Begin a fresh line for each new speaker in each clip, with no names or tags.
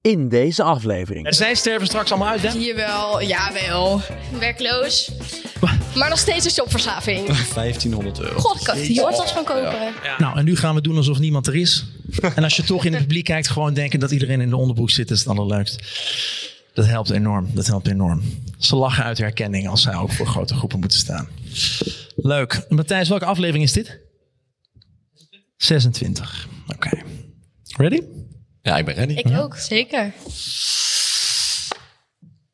in deze aflevering.
Zij sterven straks allemaal uit, hè?
Jawel, jawel.
Werkloos. Maar nog steeds een shopverslaving.
1500 euro.
God, ik kan die hortas van kopen.
Nou, en nu gaan we doen alsof niemand er is. En als je toch in het publiek kijkt, gewoon denken dat iedereen in de onderbroek zit, is het allerleukst. Dat helpt enorm. Dat helpt enorm. Ze lachen uit herkenning als zij ook voor grote groepen moeten staan. Leuk. Matthijs, welke aflevering is dit? 26. Oké. Ready?
Ja, ik ben ready.
Ik ook, zeker.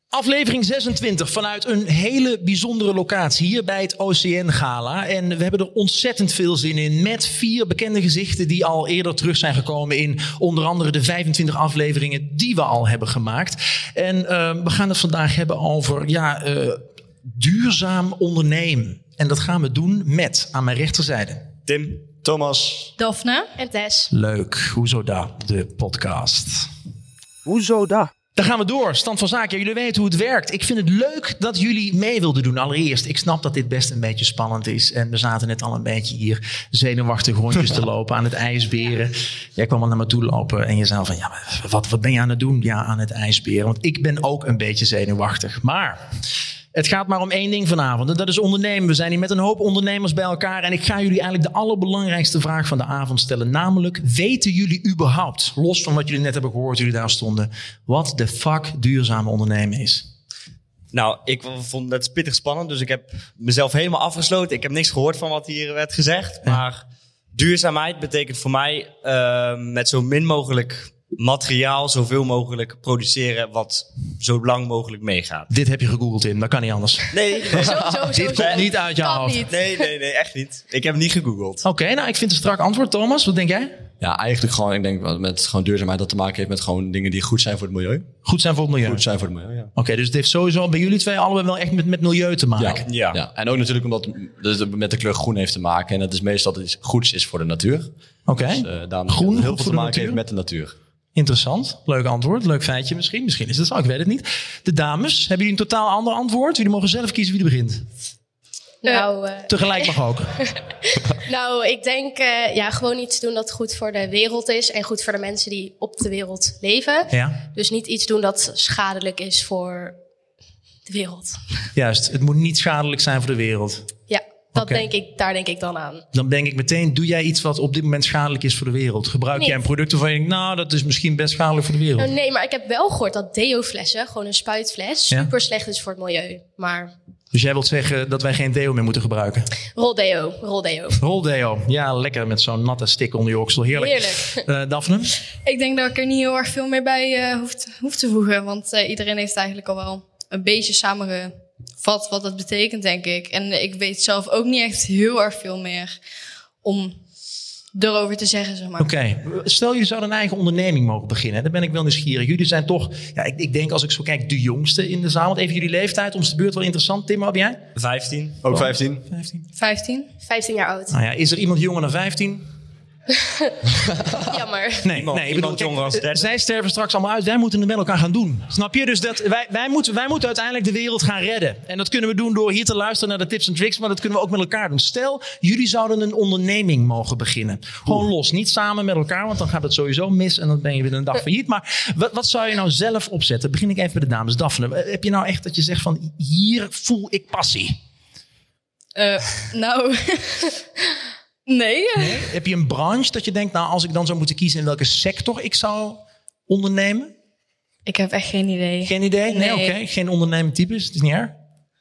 Aflevering 26 vanuit een hele bijzondere locatie hier bij het OCN Gala. En we hebben er ontzettend veel zin in met vier bekende gezichten die al eerder terug zijn gekomen in onder andere de 25 afleveringen die we al hebben gemaakt. En eh, we gaan het vandaag hebben over ja, eh, duurzaam ondernemen. En dat gaan we doen met aan mijn rechterzijde.
Tim, Thomas.
Daphne?
En Tess.
Leuk, hoezo dat, de podcast.
Hoezo dat?
Dan gaan we door. Stand van zaken. Ja, jullie weten hoe het werkt. Ik vind het leuk dat jullie mee wilden doen. Allereerst, ik snap dat dit best een beetje spannend is. En we zaten net al een beetje hier zenuwachtig rondjes te lopen aan het ijsberen. Jij kwam al naar me toe lopen en je zei al van... Ja, maar wat, wat ben je aan het doen? Ja, aan het ijsberen. Want ik ben ook een beetje zenuwachtig. Maar... Het gaat maar om één ding vanavond. En dat is ondernemen. We zijn hier met een hoop ondernemers bij elkaar. En ik ga jullie eigenlijk de allerbelangrijkste vraag van de avond stellen. Namelijk, weten jullie überhaupt, los van wat jullie net hebben gehoord, jullie daar stonden, wat de fuck duurzame ondernemen is?
Nou, ik vond het pittig spannend, dus ik heb mezelf helemaal afgesloten. Ik heb niks gehoord van wat hier werd gezegd. Maar duurzaamheid betekent voor mij eh, met zo min mogelijk materiaal zoveel mogelijk produceren wat zo lang mogelijk meegaat.
Dit heb je gegoogeld in, dat kan niet anders.
Nee, nee,
Zo, zo, zo,
Dit
zo.
komt niet uit jouw
Kan
hoofd.
niet.
nee, nee, nee, echt niet. Ik heb niet gegoogeld.
Oké, nou ik vind het een strak antwoord. Thomas, wat denk jij?
Ja, eigenlijk gewoon, ik denk wel met gewoon duurzaamheid dat te maken heeft met gewoon dingen die goed zijn voor het milieu.
Goed zijn voor het milieu.
Goed
Oké,
zijn voor het milieu, ja.
dus het heeft sowieso bij jullie twee allebei wel echt met, met milieu te maken.
Ja.
Ja.
ja. En ook natuurlijk omdat het met de kleur groen heeft te maken. En dat is meestal dat iets goeds is voor de natuur.
Oké,
Dus, eh, daarom
Groen, goed voor
heel veel
de
te maken
natuur.
heeft met de natuur.
interessant. Leuk antwoord, leuk feitje misschien. Misschien is het zo, ik weet het niet. De dames, hebben jullie een totaal ander antwoord? Jullie mogen zelf kiezen wie er begint.
Nou, eh,
Tegelijk mag ook.
nou, ik denk eh, ja, gewoon iets doen dat goed voor de wereld is. En goed voor de mensen die op de wereld leven.
Ja,
Dus niet iets doen dat schadelijk is voor de wereld.
juist. Het moet niet schadelijk zijn voor de wereld.
Ja, dat
Oké.
denk ik, daar denk ik dan aan.
Dan denk ik meteen, doe jij iets wat op dit moment schadelijk is voor de wereld? Gebruik
Nee.
jij een product waarvan je denkt, nou, dat is misschien best schadelijk voor de wereld?
Nou, nee, maar ik heb wel gehoord dat deo-flessen, gewoon een spuitfles,
Ja.
super slecht is voor het milieu. Maar
Dus jij wilt zeggen dat wij geen deo meer moeten gebruiken?
rol deo, rol deo.
Roldeo. Ja, lekker met zo'n natte stik onder je oksel. Heerlijk.
Heerlijk.
Eh, Daphne?
Ik denk dat ik er niet heel erg veel meer bij eh, hoef, te, hoef te voegen. Want eh, iedereen heeft eigenlijk al wel een beetje samengevat wat dat betekent, denk ik. En ik weet zelf ook niet echt heel erg veel meer om erover te zeggen, zeg maar.
Oké. Stel, jullie zouden een eigen onderneming mogen beginnen. Dan ben ik wel nieuwsgierig. Jullie zijn toch, ja, ik, ik denk als ik zo kijk, de jongste in de zaal. Want even jullie leeftijd, om de beurt wel interessant. Tim, wat ben jij?
15.
Ook 15?
15.
15?
15 jaar oud.
Nou ja, is er iemand jonger dan 15?
Jammer.
Nee,
Iemand-
nee, ik
iemand
bedoel, kijk,
jonger als
eh,
30.
zij sterven straks allemaal uit. Wij moeten het met elkaar gaan doen. Snap je? Dus dat wij, wij, moeten, wij moeten uiteindelijk de wereld gaan redden. En dat kunnen we doen door hier te luisteren naar de tips en tricks. Maar dat kunnen we ook met elkaar doen. Stel, jullie zouden een onderneming mogen beginnen. Gewoon los. Niet samen met elkaar, want dan gaat het sowieso mis. En dan ben je weer een dag failliet. Maar wat, wat zou je nou zelf opzetten? Begin ik even bij de dames. Daphne, eh, heb je nou echt dat je zegt van hier voel ik passie?
Eh, nou, nee.
Nee? Heb je een branche dat je denkt, nou als ik dan zou moeten kiezen in welke sector ik zou ondernemen?
Ik heb echt geen idee.
Geen idee? Nee,
Nee.
oké. Geen ondernemend types. Het is niet erg.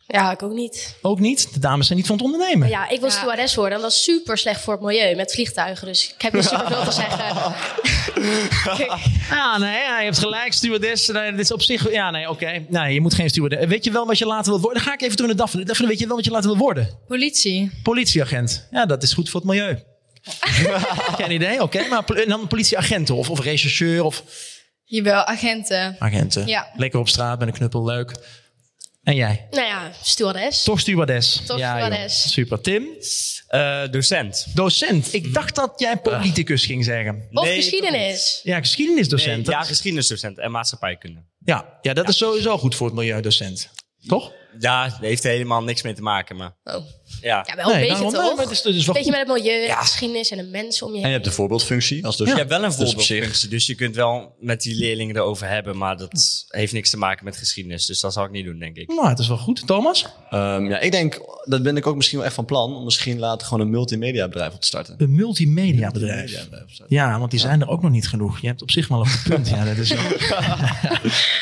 Ja, ik ook niet.
Ook niet. De dames zijn niet van het ondernemen.
Ja, ik wil
Ja.
stewardess worden en dat is super slecht voor het milieu met vliegtuigen. Dus ik heb niet super veel te zeggen.
Ah, nee, ja, je hebt gelijk. Stewardess. Nee, dit is op zich... Ja, nee, oké. Nee, je moet geen stewardess. Weet je wel wat je later wil worden? Dan ga ik even door naar Daphne. Daphne, weet je wel wat je later wil worden?
Politie.
Politieagent. Ja, dat is goed voor het milieu. geen idee, oké. Maar pol- en dan politieagenten of, of rechercheur of
Jawel, agenten.
agenten.
Ja.
Lekker op straat met een knuppel, leuk. En jij?
nou ja, stewardess.
Toch stewardess.
Toch
ja, joh.
stewardess.
Super. Tim?
Eh, docent.
Docent. Ik dacht dat jij politicus ging zeggen.
Of
Nee,
geschiedenis.
Ja,
toch
geschiedenisdocent.
niet. Nee,
Dat
ja,
is-
geschiedenisdocent en maatschappijkunde.
Ja, ja dat is sowieso goed voor het milieu, docent. Toch?
ja, dat heeft er helemaal niks mee te maken. Maar
Oh.
ja.
Ja, wel een beetje
daarom- nee,
toch?
maar het is, het is wel
Beetje
goed.
met het milieu, de geschiedenis en de mensen om je
En je
heen.
hebt de voorbeeldfunctie als docent.
Je hebt wel een
Dus op zich-
voorbeeldfunctie, dus je kunt wel met die leerlingen erover hebben, maar dat heeft niks te maken met geschiedenis. Dus dat zal ik niet doen, denk ik.
Nou, het is wel goed. Thomas?
Ehm, ja, ik denk, dat ben ik ook misschien wel echt van plan, om misschien later gewoon een multimedia bedrijf op te starten.
Een multimedia bedrijf.
Mediabedrijf op te starten.
Ja, want die zijn er ook nog niet genoeg. Je hebt op zich wel een goed punt. Ja, dat is,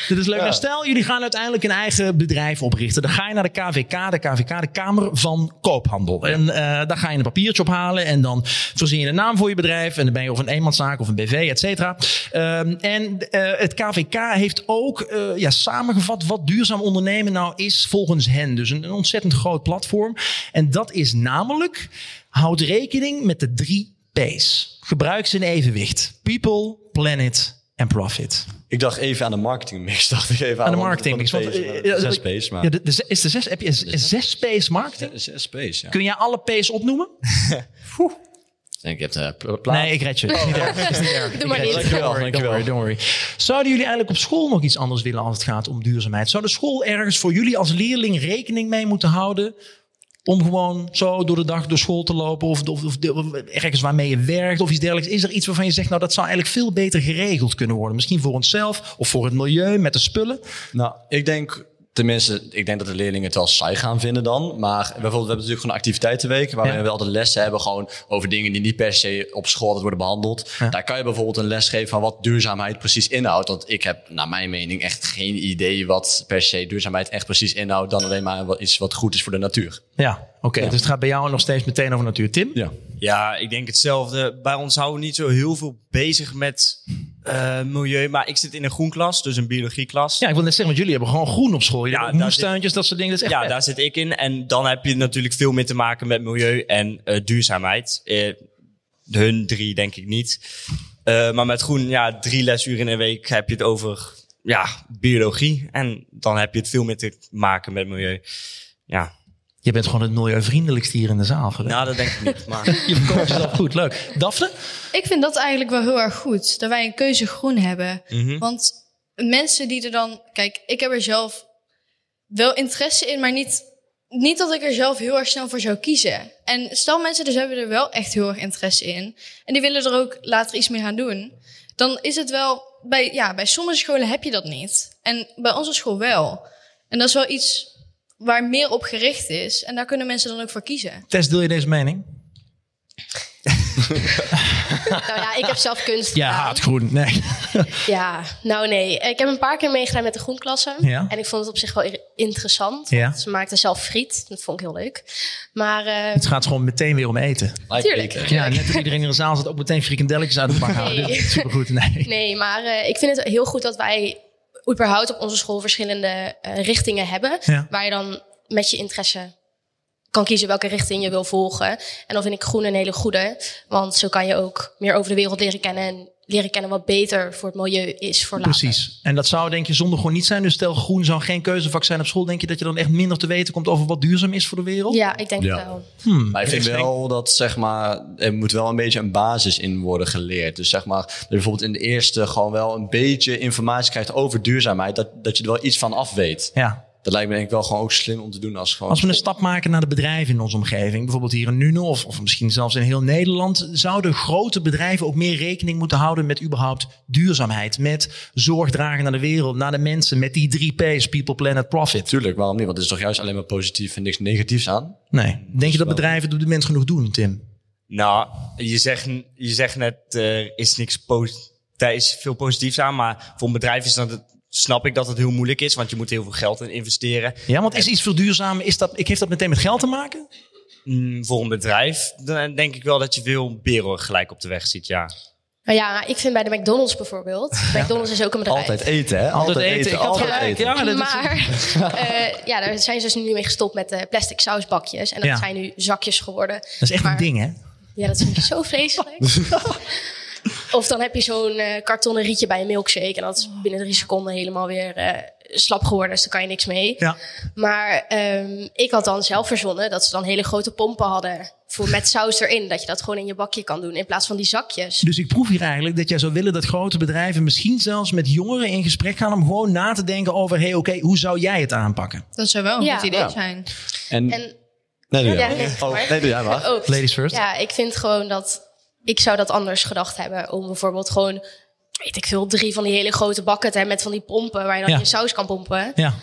dat is leuk. Nou, stel, jullie gaan uiteindelijk een eigen bedrijf oprichten. Dan ga je naar de KVK, de KVK, de Kamer van Koophandel. En eh, daar ga je een papiertje ophalen en dan voorzien je een naam voor je bedrijf. En dan ben je of een eenmanszaak of een BV, et cetera. Ehm, en eh, het KVK heeft ook eh, ja, samengevat wat duurzaam ondernemen nou is volgens hen. Dus een, een ontzettend groot platform. En dat is namelijk, houd rekening met de drie P's. Gebruik ze in evenwicht. People, planet en profit.
Ik dacht even aan de marketingmix. Dacht ik even aan,
de
want-
marketingmix,
want
want,
P's, maar
eh, ja,
Zes
ik-
P's, maar...
Ja, de, de ze- is de zes, heb je een- een zes P's marketing?
Zes P's, ja.
Kun jij alle P's opnoemen?
Ik denk, je hebt eh, pla- plaat.
Nee, ik red je. Is niet erg, is niet erg.
Doe maar
Ik red je.
niet.
Don't worry, don't worry, don't worry. Zouden jullie eigenlijk op school nog iets anders willen als het gaat om duurzaamheid? Zou de school ergens voor jullie als leerling rekening mee moeten houden? Om gewoon zo door de dag door school te lopen of, of, of of ergens waarmee je werkt of iets dergelijks. Is er iets waarvan je zegt, nou dat zou eigenlijk veel beter geregeld kunnen worden? Misschien voor onszelf of voor het milieu met de spullen.
Nou, ik denk... Tenminste, ik denk dat de leerlingen het wel saai gaan vinden dan. Maar bijvoorbeeld, we hebben natuurlijk gewoon activiteitenweken... waarin
Ja.
we wel de lessen hebben gewoon over dingen die niet per se op school dat worden behandeld. Daar kan je bijvoorbeeld een les geven van wat duurzaamheid precies inhoudt. Want ik heb naar mijn mening echt geen idee wat per se duurzaamheid echt precies inhoudt... dan alleen maar wat- iets wat goed is voor de natuur.
Ja, oké. Dus het gaat bij jou nog steeds meteen over natuur. Tim?
Ja.
Ja, ik denk hetzelfde. Bij ons houden we niet zo heel veel bezig met eh, milieu, maar ik zit in een groenklas, dus een biologieklas.
Ja, ik wil net zeggen, want jullie hebben gewoon groen op school. Jullie
Ja,
hebben
daar zit-
moestuintjes, dat soort dingen. Dat is echt
ja,
vet.
daar zit ik in. En dan heb je natuurlijk veel meer te maken met milieu en eh, duurzaamheid. Eh, hun drie denk ik niet. Eh, maar met groen, ja, drie lesuren in een week heb je het over ja, biologie. En dan heb je het veel meer te maken met milieu. Ja,
Je bent gewoon het milieuvriendelijkste hier in de zaal geweest.
nou dat denk ik niet. Maar
Je verkoopt jezelf goed, leuk. Daphne?
Ik vind dat eigenlijk wel heel erg goed. Dat wij een keuze groen hebben.
Mhm.
Mhm.
Want mensen die er dan... Kijk, ik heb er zelf wel interesse in, maar niet, niet dat ik er zelf heel erg snel voor zou kiezen. En stel mensen dus hebben er wel echt heel erg interesse in. En die willen er ook later iets mee gaan doen. Dan is het wel... Bij, ja, bij sommige scholen heb je dat niet. En bij onze school wel. En dat is wel iets waar meer op gericht is. En daar kunnen mensen dan ook voor kiezen.
Tess, deel je deze mening?
Nou ja, ik heb zelf kunst
Ja,
gedaan.
haat groen. Nee.
Ja, nou nee. Ik heb een paar keer meegedaan met de groenklasse.
Ja.
En ik vond het op zich wel i- interessant.
Ja.
want Ze maakten zelf friet. Dat vond ik heel leuk. Maar eh,
Het gaat gewoon meteen weer om eten.
Like
Tuurlijk.
eten.
Ja, net als iedereen in de zaal zat ook meteen frikandelletjes uit de bak halen.
Nee.
Dat is supergoed. Nee.
nee, maar eh, ik vind het heel goed dat wij überhaupt op onze school verschillende eh, richtingen hebben.
Ja.
Waar je dan met je interesse kan kiezen welke richting je wil volgen. En dan vind ik groen een hele goede. Want zo kan je ook meer over de wereld leren kennen. En leren kennen wat beter voor het milieu is voor later.
Precies. En dat zou denk je zonder gewoon niet zijn. Dus stel groen zou geen keuzevak zijn op school. Denk je dat je dan echt minder te weten komt over wat duurzaam is voor de wereld?
Ja, ik denk
Ja.
het wel.
Maar ik vind wel dat zeg maar, er moet wel een beetje een basis in worden geleerd. Dus zeg maar, dat je bijvoorbeeld in de eerste gewoon wel een beetje informatie krijgt over duurzaamheid. Dat, dat je er wel iets van af weet.
Ja.
Dat lijkt me denk ik wel gewoon ook slim om te doen als gewoon.
Als we een stap maken naar de bedrijven in onze omgeving, bijvoorbeeld hier in Nuenen of, of misschien zelfs in heel Nederland, zouden grote bedrijven ook meer rekening moeten houden met überhaupt duurzaamheid, met zorg dragen naar de wereld, naar de mensen, met die drie P's, people, planet, profit.
Tuurlijk, waarom niet? Want het is toch juist alleen maar positief en niks negatiefs aan?
Nee, denk je dat bedrijven het op dit moment genoeg doen, Tim?
nou, je zegt, je zegt net, er is niks posi- Daar is veel positiefs aan, maar voor een bedrijf is dat het- snap ik dat het heel moeilijk is, want je moet heel veel geld in investeren.
Ja, want is iets verduurzamen, is dat, ik heeft dat meteen met geld te maken?
Mm, voor een bedrijf, dan denk ik wel dat je veel beren gelijk op de weg ziet, ja.
Nou ja, ik vind bij de McDonald's bijvoorbeeld. McDonald's is ook een bedrijf.
Altijd eten, hè? Altijd, eten, altijd eten.
Ja, dat is-
maar eh, ja, daar zijn ze dus nu mee gestopt met de plastic sausbakjes. En dat
Ja.
zijn nu zakjes geworden.
dat is echt een
Maar-
ding, hè?
Ja, dat vind ik zo vreselijk. Of dan heb je zo'n eh, kartonnen rietje bij een milkshake. En dat is
Oh,
binnen drie seconden helemaal weer eh, slap geworden. Dus daar kan je niks mee.
Ja.
Maar ehm, ik had dan zelf verzonnen dat ze dan hele grote pompen hadden. Voor, met saus erin. Dat je dat gewoon in je bakje kan doen. In plaats van die zakjes.
Dus ik proef hier eigenlijk dat jij zou willen dat grote bedrijven misschien zelfs met jongeren in gesprek gaan om gewoon na te denken over, hey, oké, hoe zou jij het aanpakken?
Dat zou wel een
Ja.
goed idee
Ja.
zijn.
En,
En,
nee, doe jij
ja,
maar.
nee, zeg maar.
Oh, nee, doe jij maar.
Oh,
Ladies first.
Ja, ik vind gewoon dat ik zou dat anders gedacht hebben. Om bijvoorbeeld gewoon, weet ik veel, drie van die hele grote bakken te hebben met van die pompen waar je dan
Ja.
je saus kan pompen.
Ja.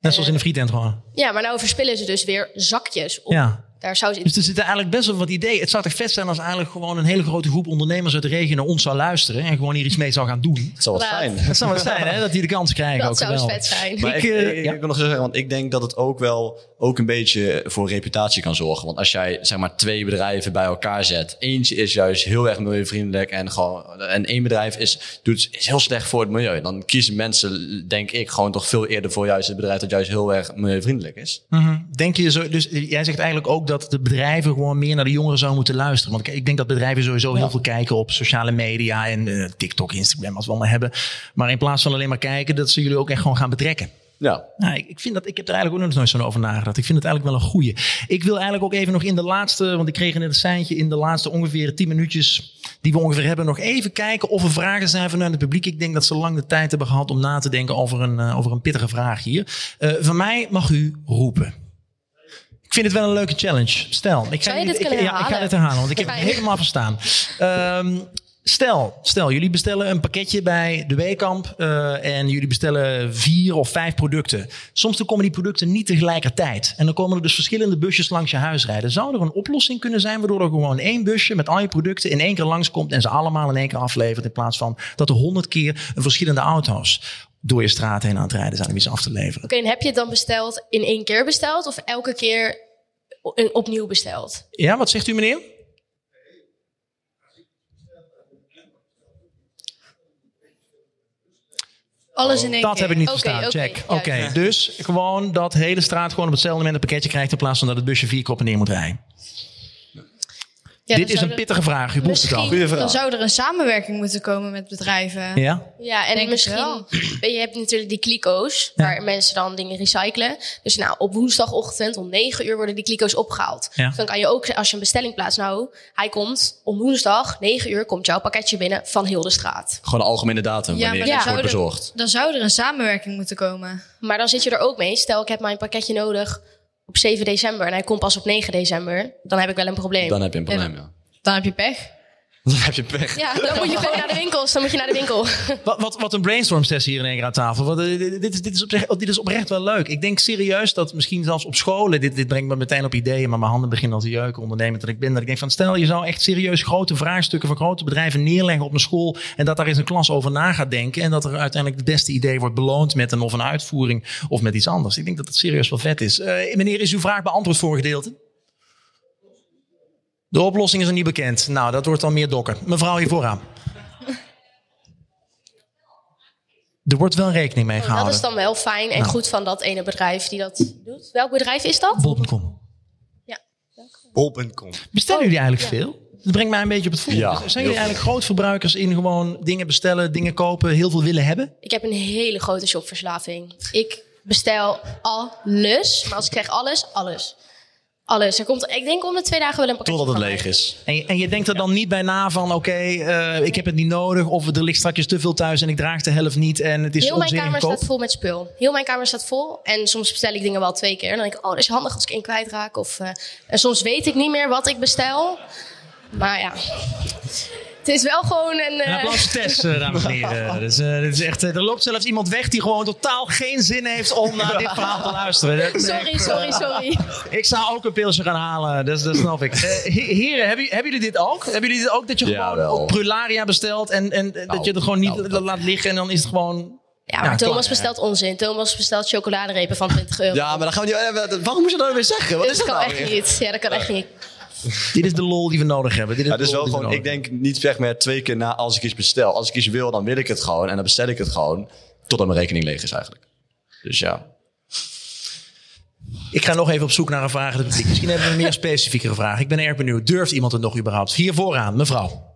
Net zoals in de frietent gewoon.
Ja, maar nou verspillen ze dus weer zakjes om
Ja.
daar saus in.
Dus er zitten eigenlijk best wel wat ideeën. Het zou toch vet zijn als eigenlijk gewoon een hele grote groep ondernemers uit de regio naar ons zou luisteren en gewoon hier iets mee zou gaan doen.
Het zal wat
Inderdaad.
fijn.
Dat zou het zijn, hè? Dat die de kans krijgen.
Dat
ook
zou eens
wel.
vet zijn.
Maar
Ik,
ik,
eh,
ik- ik
ja.
wil nog eens zeggen, want ik denk dat het ook wel ook een beetje voor reputatie kan zorgen. Want als jij zeg maar twee bedrijven bij elkaar zet, eentje is juist heel erg milieuvriendelijk en gewoon en één bedrijf is doet is heel slecht voor het milieu. Dan kiezen mensen, denk ik, gewoon toch veel eerder voor juist het bedrijf dat juist heel erg milieuvriendelijk is.
Mhm. Denk je zo, dus eh, jij zegt eigenlijk ook dat de bedrijven gewoon meer naar de jongeren zouden moeten luisteren. Want ik- ik denk dat bedrijven sowieso heel veel kijken op sociale media en eh, TikTok, Instagram, als we allemaal hebben. Maar in plaats van alleen maar kijken, dat ze jullie ook echt gewoon gaan betrekken.
Ja,
Nou, ik, ik, vind dat, ik heb er eigenlijk ook nog nooit zo over nagedacht. Ik vind het eigenlijk wel een goeie. Ik wil eigenlijk ook even nog in de laatste, want ik kreeg net een seintje, in de laatste ongeveer 10 minuutjes die we ongeveer hebben, nog even kijken of er vragen zijn vanuit het publiek. Ik denk dat ze lang de tijd hebben gehad om na te denken over een, eh, over een pittige vraag hier. Eh, van mij mag u roepen. Ik vind het wel een leuke challenge. Stel, ik ga,
Zou je dit
ik-
kunnen
ja, ik ga
herhalen?
dit herhalen, want ik heb het
Fijn.
helemaal verstaan. Ehm, stel, stel, jullie bestellen een pakketje bij de Weekamp eh, en jullie bestellen vier of vijf producten. Soms dan komen die producten niet tegelijkertijd. En dan komen er dus verschillende busjes langs je huis rijden. Zou er een oplossing kunnen zijn waardoor er gewoon één busje met al je producten in één keer langskomt en ze allemaal in één keer aflevert in plaats van dat er honderd keer een verschillende auto's door je straat heen aan het rijden zijn om iets af te leveren?
Oké, en heb je het dan besteld in één keer besteld of elke keer o- een- opnieuw besteld?
Ja, wat zegt u meneer?
Alles in één
Oh, Dat
keer.
heb ik niet
Oké,
verstaan.
oké,
Check. Oké,
juist.
dus gewoon dat hele straat gewoon op hetzelfde moment een pakketje krijgt in plaats van dat het busje vier koppen neer moet rijden.
Ja,
Dit
dan
is
zou
een
er-
pittige vraag. U proeft het al.
Misschien dan zou er een samenwerking moeten komen met bedrijven.
Ja.
Ja, en
Denk het
misschien,
wel.
weet je je hebt natuurlijk die kliko's,
Ja.
waar mensen dan dingen recyclen. Dus nou, op woensdagochtend om 9 uur worden die kliko's opgehaald.
Ja.
Dus dan kan je ook, als je een bestelling plaatst, nou, hij komt om woensdag 9 uur, komt jouw pakketje binnen van heel de straat.
gewoon een algemene datum
Ja,
wanneer
maar
iets
dan
wordt
zouden-
bezorgd.
Dan zou er een samenwerking moeten komen.
Maar dan zit je er ook mee. Stel, ik heb mijn pakketje nodig op 7 december en hij komt pas op 9 december. Dan heb ik wel een probleem.
Dan heb je een probleem. Ja.
Dan heb je pech.
Dan heb je pech.
Ja, dan moet je gewoon naar de winkels. Dan moet je naar de winkel.
Wat, wat, wat een brainstorm sessie hier in één keer aan tafel. Wat, eh, dit, dit is, dit, is oprecht, dit is oprecht wel leuk. Ik denk serieus dat misschien zelfs op scholen. Dit, dit brengt me meteen op ideeën, maar mijn handen beginnen al te jeuken. Ondernemend dat ik ben. Dat ik denk van stel je zou echt serieus grote vraagstukken van grote bedrijven neerleggen op een school. En dat daar eens een klas over na gaat denken. En dat er uiteindelijk het beste idee wordt beloond met een of een uitvoering of met iets anders. Ik denk dat het serieus wel vet is. Eh, meneer, is uw vraag beantwoord voor een gedeelte? De oplossing is nog niet bekend. Nou, dat wordt dan meer dokken. Mevrouw hier vooraan. Er wordt wel rekening mee gehouden.
Oh, Dat is dan wel fijn
nou.
en goed van dat ene bedrijf die dat doet. Welk bedrijf is dat?
Bol.com.
Bol.com.
Bestellen jullie eigenlijk veel? Dat brengt mij een beetje op het voet.
Ja,
Dus zijn
heel
jullie eigenlijk grootverbruikers in gewoon dingen bestellen, dingen kopen, heel veel willen hebben?
Ik heb een hele grote shopverslaving. Ik bestel alles. Maar als ik zeg alles, alles. Alles. Er komt, ik denk om de twee dagen wel een pakketje.
Totdat het
van
leeg
mij.
is.
En je, en je denkt er dan niet bij na van, oké, eh, ik heb het niet nodig. Of er ligt straks te veel thuis en ik draag de helft niet. En het is
Heel mijn
onzinnig
kamer
goedkoop.
staat vol met spul. Heel mijn kamer staat vol. En soms bestel ik dingen wel twee keer. En dan denk ik, oh, dat is handig als ik één kwijtraak. Of, eh, en soms weet ik niet meer wat ik bestel. Maar ja, het is wel gewoon een...
Een
eh,
applaus voor Tess, eh, dames en heren. Dus, eh, dit is echt, eh, er loopt zelfs iemand weg die gewoon totaal geen zin heeft om naar dit verhaal te luisteren. Dat is echt,
sorry,
eh,
sorry, sorry.
Ik zou ook een pilsje gaan halen, dus dat snap ik. Eh, he- heren, hebben, jullie- hebben jullie dit ook? Hebben jullie dit ook dat je
Ja,
gewoon
wel.
op Prularia bestelt en, en eh, dat je het gewoon niet
nou,
la- laat liggen en dan is het gewoon...
Ja, maar
Ja,
Thomas
klaar, hè.
bestelt onzin. Thomas bestelt chocoladerepen van 20 euro.
Ja, maar dan gaan we niet. eh, Waarom moet je dat nou weer zeggen? Wat is
dat
dat
kan
nou weer?
echt niet. Ja, dat kan echt niet.
Dit is de lol die we nodig hebben. Dit is,
Ja,
de
het is
lol
wel
die we
gewoon, ik
nodig
denk niet zeg maar twee keer na als ik iets bestel. Als ik iets wil, dan wil ik het gewoon. En dan bestel ik het gewoon totdat mijn rekening leeg is eigenlijk. Dus ja.
hebben. Ik ga nog even op zoek naar een vraag in het publiek. Misschien hebben we een meer specifiekere vraag. Ik ben erg benieuwd. Durft iemand het nog überhaupt? Hier vooraan, mevrouw.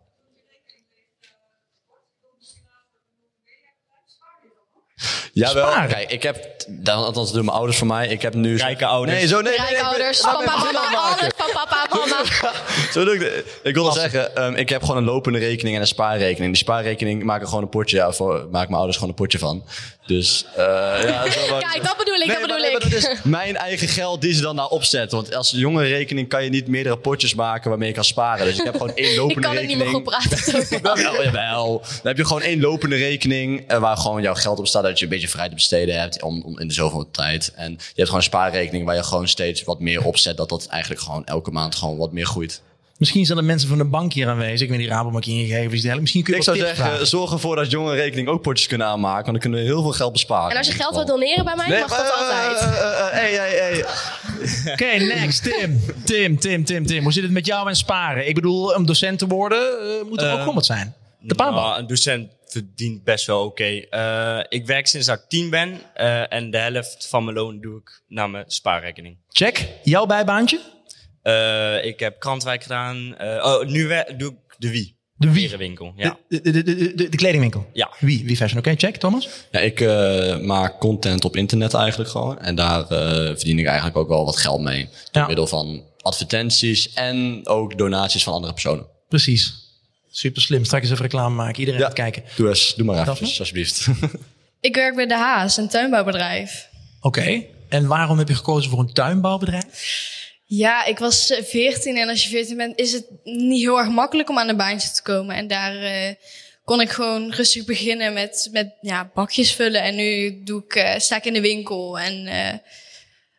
Jawel,
Sparen.
kijk, ik heb, dan- althans doen mijn ouders voor mij, ik heb nu...
Rijke ouders.
Nee, zo nee, nee, nee, ik
Rijke
ben-
ouders,
laat me
papa,
even
mama,
afmaken.
alles van papa, mama.
Zo bedoel ik de- ik wilde zeggen, ehm, ik heb gewoon een lopende rekening en een spaarrekening. Die spaarrekening maak ik gewoon een potje, ja, voor, maak mijn ouders gewoon een potje van. Dus, eh, ja, zo wel-
Kijk, dat bedoel ik, dat
Nee,
bedoel
maar- nee,
ik.
maar dat is mijn eigen geld die ze dan daar opzetten. Want als jonge rekening kan je niet meerdere potjes maken waarmee je kan sparen. Dus ik heb gewoon één
ik
lopende
kan ook niet
rekening.
meer goed praten.
Jawel, jawel. Dan heb je gewoon één lopende rekening eh, waar gewoon jouw geld op staat. Dat je een beetje vrij te besteden hebt om, om in de zoveel tijd. En je hebt gewoon een spaarrekening waar je gewoon steeds wat meer opzet. Dat dat eigenlijk gewoon elke maand gewoon wat meer groeit.
Misschien zijn er mensen van de bank hier aanwezig. Ik weet die Rabobank ingegevens delen. Misschien kun je
Ik
wat
zou
tips
zeggen,
vragen.
zorg ervoor dat jongeren rekening ook potjes kunnen aanmaken. Want dan kunnen we heel veel geld besparen. eh,
En als je geld wilt doneren bij mij, mag dat altijd.
Hey, hey, hey.
Oké, next. Tim. Tim, Tim, Tim, Tim. Hoe zit het met jou en sparen? Ik bedoel, om docent te worden eh, moet er ook
Eh,
gewoon wat zijn. De paanbaan.
Nou, een docent verdient best wel oké. Eh, ik werk sinds dat ik tien ben. eh, en de helft van mijn loon doe ik naar mijn spaarrekening.
Check. Jouw bijbaantje?
Eh, ik heb Krantwijk gedaan. eh, oh, nu we- doe ik de Wie.
De wie?
Berenwinkel, ja.
De, de, de, de, de- de kledingwinkel?
Ja.
Wie? Wie fashion? Oké, check. Thomas?
Ja, ik eh, maak content op internet eigenlijk gewoon. En daar eh, verdien ik eigenlijk ook wel wat geld mee. Door
Ja.
middel van advertenties en ook donaties van andere personen.
Precies. Super slim. Straks even reclame maken. Iedereen gaat kijken.
Doe, eens, doe maar
Daphne?
even, alsjeblieft.
Ik werk bij De Haas, een tuinbouwbedrijf.
Oké. En waarom heb je gekozen voor een tuinbouwbedrijf?
Ja, ik was eh, 14 en als je 14 bent is het niet heel erg makkelijk om aan een baantje te komen. En daar eh, kon ik gewoon rustig beginnen met, met ja, bakjes vullen. En nu doe ik, eh, sta ik in de winkel en eh,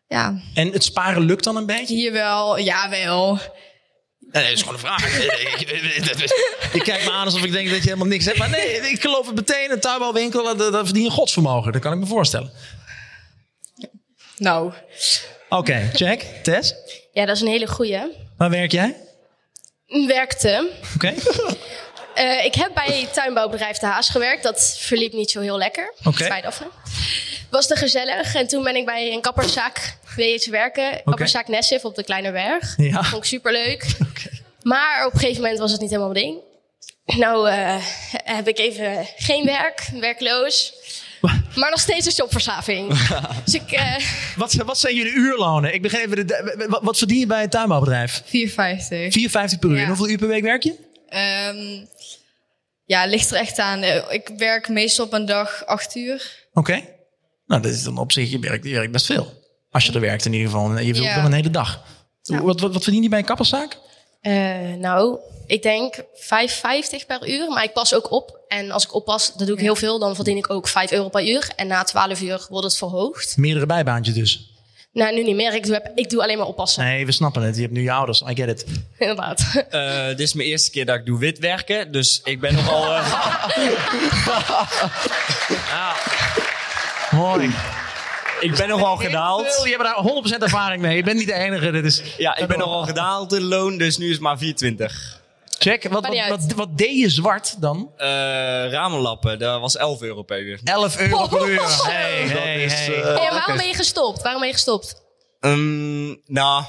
ja,
En het sparen lukt dan een beetje?
hier wel, jawel.
Nee, dat is gewoon een vraag. ik, ik kijk me aan alsof ik denk dat je helemaal niks hebt. Maar nee, ik geloof het meteen. Een tuinbouwwinkel, dat, dat verdient een godsvermogen. Dat kan ik me voorstellen.
Nou,
Oké, check. Tess,
Ja, dat is een hele goeie.
waar werk jij?
Werkte.
Oké. Oké.
Eh, ik heb bij tuinbouwbedrijf De Haas gewerkt. Dat verliep niet zo heel lekker.
Oké.
Bij Daphne. Was te gezellig. En toen ben ik bij een kapperszaak wezen werken. Kapperszaak Nessif op de Kleine Berg.
Ja.
Vond ik superleuk. Maar op een gegeven moment was het niet helemaal mijn ding. Nou eh, heb ik even geen werk. Werkloos. Maar nog steeds een jobverslaving. dus ik... eh,
Wat, wat zijn jullie uurlonen? Ik begin even, de, wat, wat verdien je bij een tuinbouwbedrijf?
4,50.
4,50 per uur.
Ja.
En hoeveel uur per week werk je?
Ehm, ja, ligt er echt aan. Eh, Ik werk meestal op een dag 8 uur.
Oké. Nou, dat is dan op zich, je werkt, je werkt best veel. Als je er werkt in ieder geval. En je wilt
Ja.
wel een hele dag. Wat, wat, wat verdien je bij een kapperszaak?
Eh, nou, ik denk 5,50 per uur. Maar ik pas ook op. En als ik oppas, dat doe ik heel veel. Dan verdien ik ook 5 euro per uur. En na 12 uur wordt het verhoogd.
Meerdere bijbaantjes dus.
Nou, nu niet meer. Ik doe, heb- ik doe alleen maar oppassen.
Nee, we snappen het. Je hebt nu je ouders. I get it.
Inderdaad.
Eh, dit is mijn eerste keer dat ik doe wit werken. Dus ik ben nogal... eh,
Mooi.
ik ben nogal
Heel veel.
gedaald.
Je hebt daar 100% ervaring mee. Je bent niet de enige. Dit is...
Ja, ik ben nogal gedaald in loon. Dus nu is het maar 24.
Check. Wat,
Maakt
wat,
niet
wat, wat deed je zwart dan?
Eh ramenlappen, dat was 11 euro per uur.
11 euro per uur. Hey, hey,
is,
hey.
eh,
Hey, en waarom ben je gestopt? Waarom ben je gestopt?
Ehm, nou,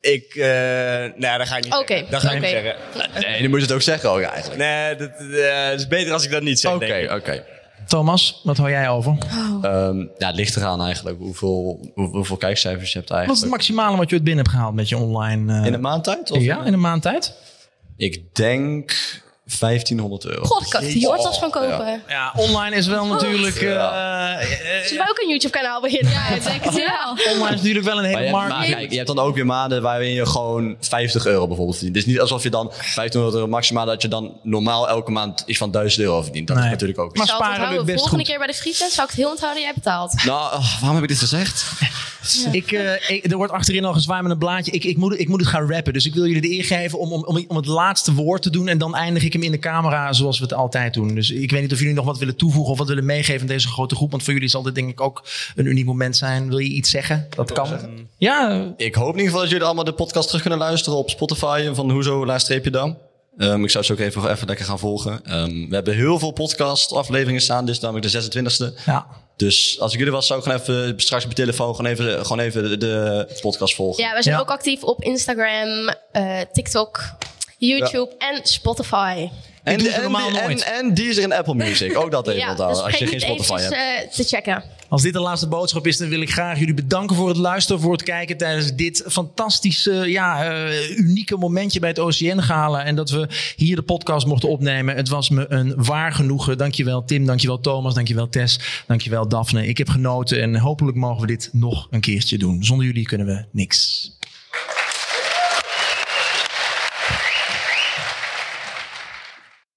ik... eh nee, dat ga ik niet
Oké,
zeggen. Dat ga ik niet
oké.
zeggen.
nee, dan moet je het ook zeggen ook eigenlijk.
Nee, dat eh, het is beter als ik dat niet zeg,
Oké,
denk ik.
oké.
Thomas, wat hou jij over?
Ehm, ja, het ligt eraan eigenlijk hoeveel, hoe- hoeveel kijkcijfers je hebt
Wat is
eigenlijk.
het maximale wat je ooit binnen hebt gehaald met je online... eh,
in een maand tijd? Of
ja, in een maand tijd?
Ik denk 1500 euro.
God, ik had die hortas van kopen.
Ja, online is
Oh,
wel natuurlijk... eh, eh,
Zullen we ook een YouTube kanaal beginnen? Ja, ik denk het wel.
online is natuurlijk wel een
Maar
hele
je, hebt, maar
markt.
kijk, je hebt dan ook weer maanden waarin je gewoon 50 euro bijvoorbeeld verdient. Het is niet alsof je dan 1500 euro maximaal dat je dan normaal elke maand iets van 1000 euro verdient. Dat
Nee.
is natuurlijk ook.
Maar-
Zal
Sparen
het
lukt
onthouden.
best
Volgende
goed.
keer bij de friettent zou ik het heel onthouden. Jij betaalt.
Nou, oh, waarom heb ik dit gezegd?
Ik, eh, ik- er wordt achterin al gezwaaid met een blaadje. Ik, ik, moet, ik moet het gaan rappen. Dus ik wil jullie de eer geven om, om, om, om het laatste woord te doen. En dan eindig ik hem in de camera zoals we het altijd doen. Dus ik weet niet of jullie nog wat willen toevoegen of wat willen meegeven aan deze grote groep. Want voor jullie zal dit denk ik ook een uniek moment zijn. Wil je iets zeggen? Dat kan. Ja, eh,
Ik hoop in ieder geval dat jullie allemaal de podcast terug kunnen luisteren op Spotify van Hoezo Laagstreepje Dam. Ehm, ik zou ze ook even, even lekker gaan volgen. Ehm, we hebben heel veel podcast afleveringen staan. Dit is namelijk de 26e.
ja.
Dus als ik jullie was, zou ik gewoon even straks op mijn telefoon gewoon even, gewoon even de, de podcast volgen.
Ja, we zijn
Ja.
ook actief op Instagram, eh, TikTok, YouTube en Spotify.
En,
doe ze
en,
normaal
en,
nooit.
en, Deezer en Apple Music. Ook dat even
ja,
onthouden.
dus
als je geen
vergeet niet
Spotify hebt.
eventjes, eh, te checken.
Als dit de laatste boodschap is, dan wil ik graag jullie bedanken voor het luisteren, voor het kijken tijdens dit fantastische, ja, eh, unieke momentje bij het OCN Gala. En dat we hier de podcast mochten opnemen. Het was me een waar genoegen. Dankjewel Tim, dankjewel Thomas, dankjewel Tess, dankjewel Daphne. Ik heb genoten en hopelijk mogen we dit nog een keertje doen. Zonder jullie kunnen we niks.